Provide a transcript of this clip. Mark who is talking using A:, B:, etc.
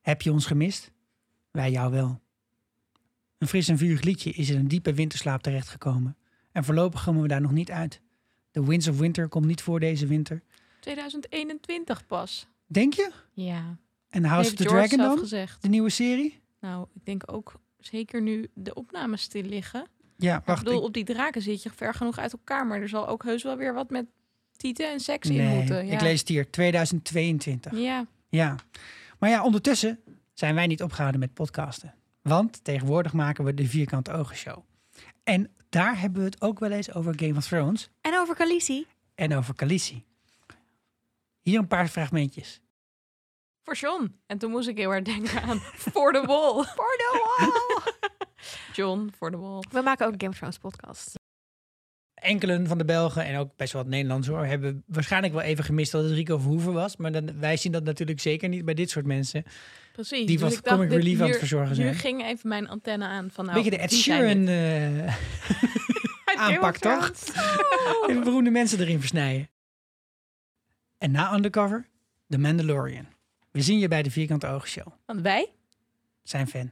A: Heb je ons gemist? Wij jou wel. Een fris en vurig liedje is in een diepe winterslaap terechtgekomen. En voorlopig komen we daar nog niet uit. The Winds of Winter komt niet voor deze winter.
B: 2021 pas.
A: Denk je?
B: Ja.
A: En House of the
B: Heeft George
A: Dragon
B: zelf
A: dan?
B: gezegd.
A: De nieuwe serie?
B: Nou, ik denk ook zeker nu de opnames stil liggen.
A: Ja, wacht.
B: ik bedoel,
A: ik-
B: op die draken zit je ver genoeg uit elkaar, maar er zal ook heus wel weer wat met tieten en seks in
A: nee,
B: moeten. Ja.
A: ik lees het hier. 2022.
B: Ja,
A: Ja. Maar ja, ondertussen zijn wij niet opgehouden met podcasten. Want tegenwoordig maken we de Vierkante Ogen Show. En daar hebben we het ook wel eens over Game of Thrones
C: En over Khaleesi.
A: en over Khaleesi. Hier een paar fragmentjes.
B: voor John. En toen moest ik heel erg denken aan Voor de Wol.
C: For the wall!
B: John, Voor de Wol.
C: We maken ook een Game of Thrones podcast.
A: Enkelen van de Belgen en ook best wel wat Nederlands hoor, hebben waarschijnlijk wel even gemist dat het Rico Verhoeven was. Maar dan, wij zien dat natuurlijk zeker niet bij dit soort mensen.
B: Nou, Precies. Dus
A: Die was
B: ik dacht,
A: comic
B: dit-
A: relief aan het
B: hier-
A: verzorgen
B: Hier
A: zijn.
B: ging even mijn antenne aan van nou...
A: Beetje de Ed
B: die zijn dit.
A: Sheeran eh,
B: Uit Game of
A: aanpak, toch?
B: Thrones. Oh.
A: even beroemde mensen erin versnijden. En na Undercover, The Mandalorian. We zien je bij de Vierkante Ogen Show.
B: Want wij
A: Zijn fan.